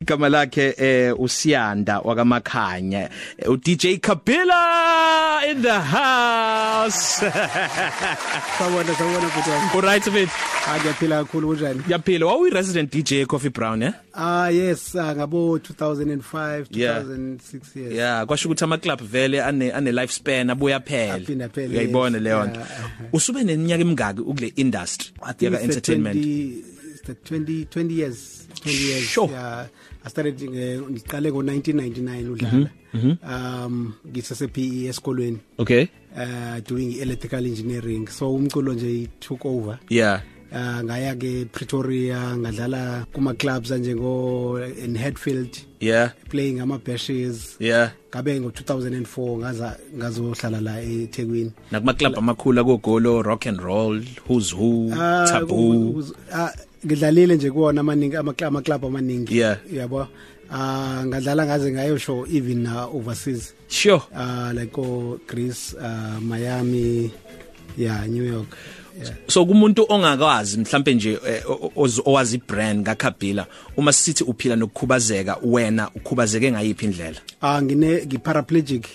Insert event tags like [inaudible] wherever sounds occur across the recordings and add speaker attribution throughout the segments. Speaker 1: igama lakhe eh usiyanda wakamakhanya Eh, u DJ Kabila in the house [laughs]
Speaker 2: Sawona sawona futhi wami.
Speaker 1: all right mate
Speaker 2: Ngiyaphila kakhulu kunjani?
Speaker 1: yaphila wawu resident DJ Coffee Brown eh
Speaker 2: Ah yes, ah, ngabo 2005,
Speaker 1: Yeah.
Speaker 2: 2006 years.
Speaker 1: yeah kwasho ukuthi ama club vele ane ane lifespan abuya phela
Speaker 2: Aphinda aphele,
Speaker 1: uyayibona
Speaker 2: yes.
Speaker 1: leyo nto
Speaker 2: Yeah. uh-huh.
Speaker 1: usube neminyaka emingaki ukule industry
Speaker 2: I think
Speaker 1: yaka
Speaker 2: it's the
Speaker 1: entertainment
Speaker 2: 20 it's the 20 20 years, 20 years.
Speaker 1: Sure.
Speaker 2: Yeah. I started nge- ngiqale ngo 1999 udlala.
Speaker 1: Mm-hmm,
Speaker 2: Um ngisese PE esikolweni.
Speaker 1: okay
Speaker 2: Uh doing electrical engineering. So umculo nje it took over.
Speaker 1: yeah
Speaker 2: Uh, ngaya ke Pretoria ngadlala kuma clubs njengo in Hatfield
Speaker 1: yeah
Speaker 2: playing ama bashes
Speaker 1: yeah
Speaker 2: ngabe ngo2004 ngaza ngazohlala la eThekwini
Speaker 1: nakuma club amakhulu akogolo rock and roll who's who
Speaker 2: Ah,
Speaker 1: taboo
Speaker 2: ku- ku- ah, ngidlalile nje kuwona amaningi ama- ama-club amaningi
Speaker 1: Yeah.
Speaker 2: yabo Ah, ngadlala ngaze ngayosho even na overseas
Speaker 1: sure
Speaker 2: Ah, like ko Greece ah, Miami yeah New York yeah.
Speaker 1: so kumuntu ongakwazi mhlambe nje eh, o- o- oz- owazi brand kaKabila uma sithi uphila nokukhubazeka wena ukhubazeke ngayiphi indlela
Speaker 2: Ah ngine ngiparaplegic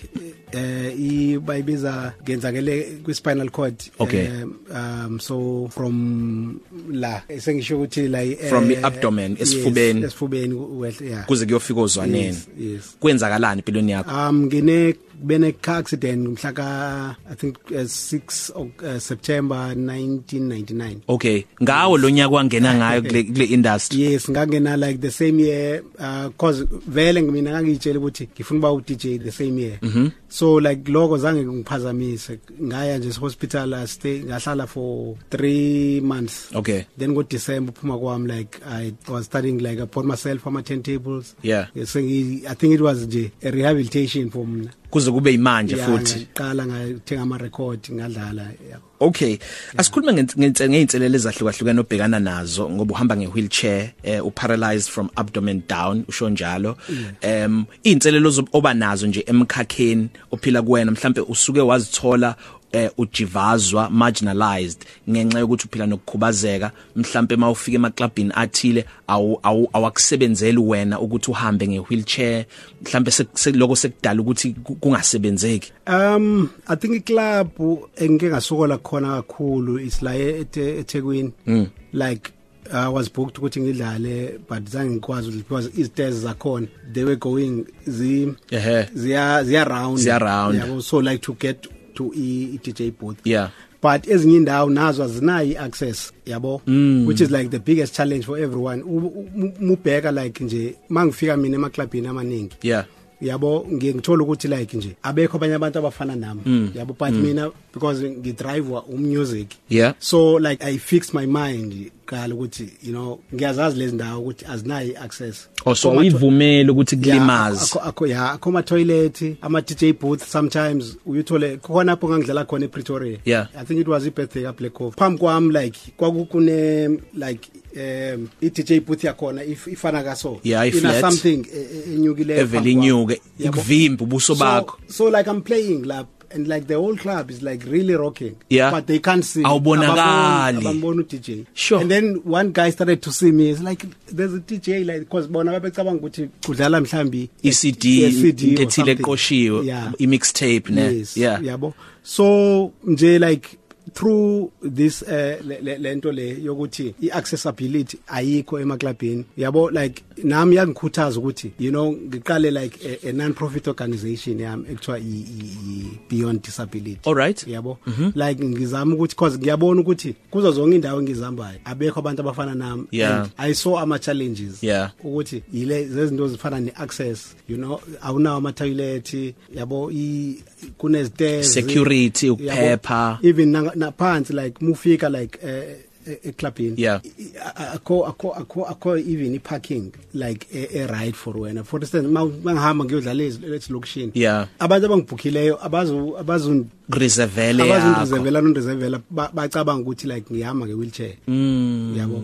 Speaker 2: eh i- bayibiza ngenzakele kwi spinal cord
Speaker 1: Okay.
Speaker 2: Eh, um so from la sengisho ukuthi la eh,
Speaker 1: From the abdomen,
Speaker 2: yes,
Speaker 1: esifubeni.
Speaker 2: esifubeni well yeah
Speaker 1: kuze kuyofika ozwaneni
Speaker 2: Yes, yes.
Speaker 1: kwenzakalani empilweni yakho
Speaker 2: um ngine bene car accident mhla ka i think uh, 6 of, uh, September 1999
Speaker 1: okay ngawo lo nyaka wangena ngayo kule kule industry
Speaker 2: yes ngangena like the same year uh, cause vele mina ngangiyitshela ukuthi ngifuna uba u-dj the same year mm
Speaker 1: Mm-hmm.
Speaker 2: -hmm. so like lokho zange ngiphazamise ngaya nje hospital I stay ngahlala for three months
Speaker 1: okay
Speaker 2: then ngo-december uphuma kwami like i was studying like i bought myself ama-turntables
Speaker 1: Yeah.
Speaker 2: Yes, sengi- i think it was nje a rehabilitation for mna
Speaker 1: kuze kube imanje
Speaker 2: Yeah,
Speaker 1: futhi
Speaker 2: ngaqala ngathenga ama-record ngadlala yeah.
Speaker 1: Okay asikhulume ngeinselelo ezahlukahlukene obhekana nazo ngoba uhamba ngewheelchair eh, u paralyzed from abdomen down usho njalo em inselelo zob- oba nazo nje emkhakheni ophila kuwena mhlambe usuke wazithola eh ujivazwa marginalized ngenxa yokuthi uphila nokukhubazeka mhlambe mawufika emaclubini athile awu- awu- awakusebenzeli wena ukuthi uhambe ngewheelchair mhlambe sekuloko sekudala ukuthi ku- kungasebenzeki
Speaker 2: Um I think club engike ngasokola khona kakhulu is la ethe- eThekwini. Mm. Like I was booked ukuthi ngidlale but zange ngikwazi ukuthi because izitezi zakhona they were going
Speaker 1: [laughs]
Speaker 2: zi
Speaker 1: Ehhe.
Speaker 2: ziya ziya round
Speaker 1: Ziya round.
Speaker 2: Yabo, so like to get to i i- DJ booth
Speaker 1: Yeah.
Speaker 2: but ezinye indawo nazo azinayi access yabo mm. which is like the biggest challenge for everyone U- u- mubheka like nje mangifika mina emaclubini amaningi
Speaker 1: yeah
Speaker 2: yabo ngiye ngithola ukuthi like nje abekho abanye abantu abafana nami mm. yabo but mm. mina because ngidrivewa umusic
Speaker 1: Yeah.
Speaker 2: so like i fixed my mind kala ukuthi you know ngiyazazi lezi ndawo ukuthi azinayi access
Speaker 1: also
Speaker 2: Akho matho-
Speaker 1: uyivumele ukuthi kulimaze
Speaker 2: Yeah, akho- akho ya akho ma toilet ama DJ booth sometimes uyuthole khona lapho ngangidlala khona e Pretoria
Speaker 1: Yeah.
Speaker 2: i think it was i birthday ka Black Hawk phambi kwami like kwakukune like um i DJ booth yakhona if ifana kaso
Speaker 1: Yeah, i-flat.
Speaker 2: ina something e- e- enyukileyo
Speaker 1: Evele
Speaker 2: phambi kwami.
Speaker 1: inyuke,
Speaker 2: Yabo.
Speaker 1: ikuvimbe ubuso
Speaker 2: So-
Speaker 1: bakho.
Speaker 2: so like i'm playing lap and like the whole club is like really rocking
Speaker 1: Yeah.
Speaker 2: but they can't see
Speaker 1: Awubonakali.
Speaker 2: abambona u DJ
Speaker 1: Sure.
Speaker 2: and then one guy started to see me it's like there's a DJ like because bona babecabanga ukuthi kudlala mhlambi
Speaker 1: iCD
Speaker 2: e- CD or
Speaker 1: ethile
Speaker 2: something.
Speaker 1: eqoshiwe
Speaker 2: Yeah.
Speaker 1: imixtape ne
Speaker 2: Yes,
Speaker 1: yeah
Speaker 2: yabo so nje like through this eh, le- le- lento le yokuthi iaccessibility ayikho emaclubhini yabo like nami yangikhuthaza ukuthi you know ngiqale like a, a non-profit organization yami ekuthiwa i- i- i- beyond disability
Speaker 1: All right.
Speaker 2: yabo
Speaker 1: Mhm.
Speaker 2: like ngizama ukuthi cause ngiyabona ukuthi kuzo zonke indawo engizihambayo abekho abantu abafana nami
Speaker 1: Yeah.
Speaker 2: and i saw ama-challenges
Speaker 1: Yeah.
Speaker 2: ukuthi yile zezinto zifana ne-access you know awunawo amatoilet yabo i- kunezitezi
Speaker 1: Security,
Speaker 2: Yabo,
Speaker 1: ukuphepha.
Speaker 2: even na- naphansi na like mufika like eh, eh, eclubhini
Speaker 1: Yeah.
Speaker 2: i- i- akho akho akho akho even i-parking like e-right for wena for instance ma- mangihamba ngiyodlala esilokishini
Speaker 1: Yeah.
Speaker 2: abantu abangibhukhileyo abazo abazo
Speaker 1: reservele yakho
Speaker 2: abazondizevela nondizevela ba- bacabanga ukuthi like ngihamba nge-wheelchair
Speaker 1: Mm,
Speaker 2: yabo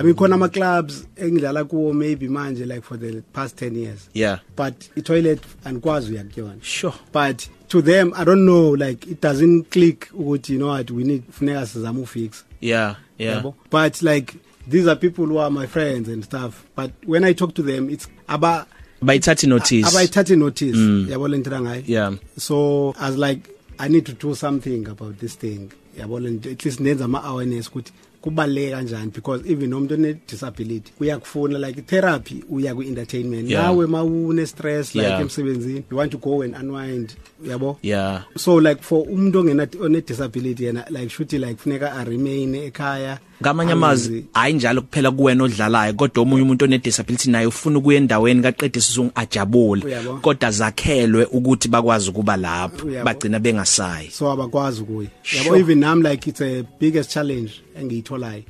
Speaker 2: i mean khona ama-clubs engidlala kuwo maybe manje like for the past 10 years
Speaker 1: yeah
Speaker 2: but i-toilet andikwazi uyakuyona
Speaker 1: sure
Speaker 2: but to them i don't know like it doesn't click ukuthi you know what we need funeka sizame ufix
Speaker 1: yeah yeah
Speaker 2: but like these are people who are my friends and stuff but when i talk to them it's aba
Speaker 1: bayithathi notice Mm.
Speaker 2: abayithathi notice yabo lentira ngayo
Speaker 1: yeah
Speaker 2: so i was like i need to do something about this thing yabo le nto at least nenza ama-awareness ukuthi kubaluleke kanjane because even nomuntu one-disability uyakufuna like therapy uya kwi-entertainment
Speaker 1: Yeah.
Speaker 2: nawe ma une-stress like
Speaker 1: Yeah.
Speaker 2: emsebenzini you want to go and unwind yabo
Speaker 1: yeah
Speaker 2: so like for umuntu ongena- one-disability yena like shuthi like funeka aremain ekhaya
Speaker 1: ngamanye amazwi
Speaker 2: angenzi-
Speaker 1: hayi njalo kuphela kuwena odlalayo kodwa omunye umuntu onedisability naye ufuna ukuya endaweni kaqede sizongiajabule
Speaker 2: Uyabo.
Speaker 1: kodwa zakhelwe ukuthi bakwazi ukuba lapho
Speaker 2: Uyabo.
Speaker 1: bagcina bengasayi
Speaker 2: so abakwazi ukuya
Speaker 1: Sure.
Speaker 2: yabo even nami like it's a biggest challenge engiyitholayo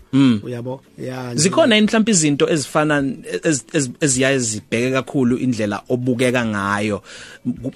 Speaker 2: uyabo yeah
Speaker 1: Mm. zikhona yini mhlawumbe izinto ezifana ez- ez- eziyaye zibheke kakhulu indlela obukeka ngayo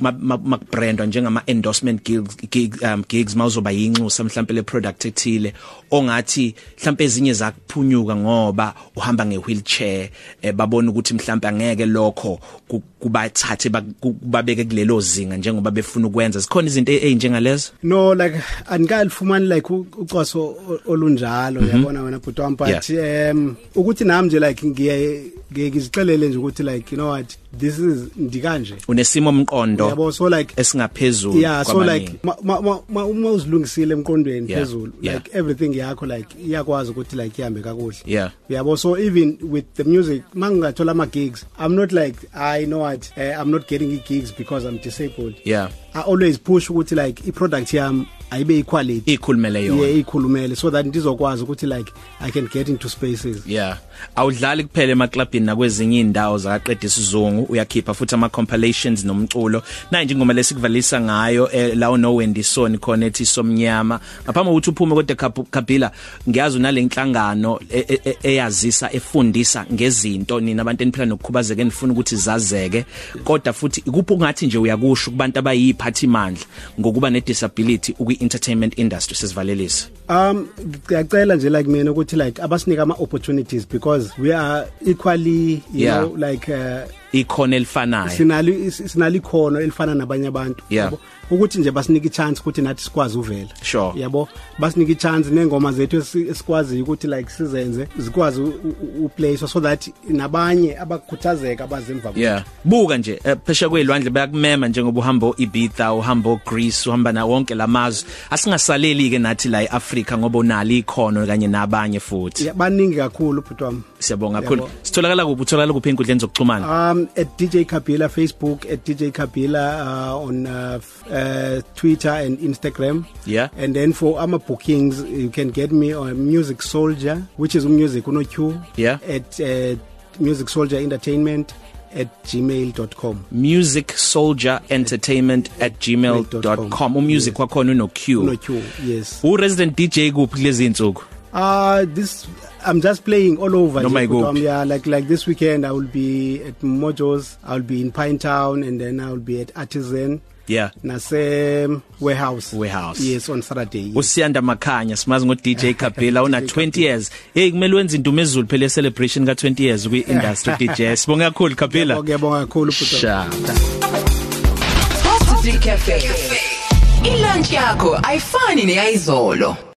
Speaker 1: makubrandwa njengama endorsement gigs gig, um, gigs mawuzoba yinxusa mhlawumbe le product ethile ongathi mhlawumbe ezinye zakuphunyuka ngoba uhamba ngewheelchair eh, babona ukuthi mhlawumbe angeke lokho ku- kubathathe bak- ku- kubabeke kulelo zinga njengoba befuna ukwenza zikhona izinto e- ezinjengalezo
Speaker 2: no like andikalifumani like u- ucwaso o- olunjalo
Speaker 1: Mhm.
Speaker 2: uyabona wena bhuti wami but um ukuthi nami nje like ngiye ngiye ngizixelele nje ukuthi like you know what this is ndikanje
Speaker 1: unesimo mqondo
Speaker 2: yabo so like
Speaker 1: esingaphezulu
Speaker 2: yeah so
Speaker 1: kwabaningi.
Speaker 2: like ma- ma- ma- ma- uma uzilungisile emqondweni
Speaker 1: Yeah,
Speaker 2: phezulu
Speaker 1: yeah.
Speaker 2: like everything yakho like iyakwazi ukuthi like ihambe kakuhle
Speaker 1: Yeah.
Speaker 2: yabo so even with the music mangingathola ama-gigs i'm not like i know what uh, i'm not getting i-gigs because i'm disabled
Speaker 1: yeah
Speaker 2: i always push ukuthi like i-product yami ayibe i-quality
Speaker 1: ikhulumele yona
Speaker 2: ye ikhulumele so that ndizokwazi ukuthi like i can get into spaces
Speaker 1: yeah awudlali kuphela emaclubhini nakwezinye indawo zakaqeda isizungu uyakhipha futhi ama-compilations nomculo naye nje ingoma lesikuvalisa ngayo eh, la unowendison khona ethi somnyama ngaphambi kokuthi uphume kodwa Khabu- kabila ngiyazi unale nhlangano e- e- e- eyazisa efundisa ngezinto nina abantu eniphila nokukhubazeka enifuna ukuthi zazeke kodwa futhi ikuphi ungathi nje uyakusho kubantu abayiphathi mandla ngokuba nedisability ukwi-entertainment industry sesivalelise
Speaker 2: um ngiyacela nje like mina ukuthi like abasinika ama-opportunities because we are equally you
Speaker 1: Yeah.
Speaker 2: know like uh,
Speaker 1: ikhono elifanayo
Speaker 2: sinalo is- sinalo ikhono elifana nabanye abantu
Speaker 1: Yeah.
Speaker 2: yabo ukuthi nje basinike ichance ukuthi nathi sikwazi uvela
Speaker 1: Sure.
Speaker 2: yabo basinike ichance nengoma zethu esi- esikwaziyo ukuthi like sizenze zikwazi uplace so that nabanye abakhuthazeka abazemva kwethu.
Speaker 1: yeah buka nje eh, phesha kwelwandle bayakumema njengoba uhamba oIbitha uhamba oGreece uhamba na wonke lamazwe asingasaleli ke nathi la eAfrica ngoba unali ikhono kanye nabanye futhi
Speaker 2: Yeah, baningi kakhulu bhuti wami
Speaker 1: siyabonga
Speaker 2: Yabo.
Speaker 1: kakhulu sitholakala kuphi utholakala kuphi enkundleni zokuxhumana
Speaker 2: um at dj kabila facebook at dj kabila uh, on uh, f- uh, twitter and instagram
Speaker 1: Yeah.
Speaker 2: and then for ama bookings you can get me on music soldier which is music uno q
Speaker 1: Yeah.
Speaker 2: at uh, music soldier entertainment at gmail.com
Speaker 1: music soldier entertainment at gmail.com umusic wakhona uno
Speaker 2: uno
Speaker 1: Q
Speaker 2: q yes
Speaker 1: uresident DJ kuphi kulezi insuku
Speaker 2: uh this i'm just playing all over
Speaker 1: Noma
Speaker 2: nje,
Speaker 1: ikuphi?
Speaker 2: Kutom. yeah like like this weekend i will be at mojos i'll be in pine town and then i'll be at artisan
Speaker 1: yeah
Speaker 2: nase warehouse
Speaker 1: Warehouse.
Speaker 2: yes on saturday yes.
Speaker 1: usiyanda makhanya simazi ngo DJ Kabhela una 20 years hey kumele wenze indume ezulu phela celebration ka 20 years kwi industry DJ sibonga kakhulu Kabhela
Speaker 2: ngiyabonga kakhulu bhuti wami.
Speaker 1: Sha.
Speaker 3: Costa Cafe. Ilunch yakho ayifani neyizolo.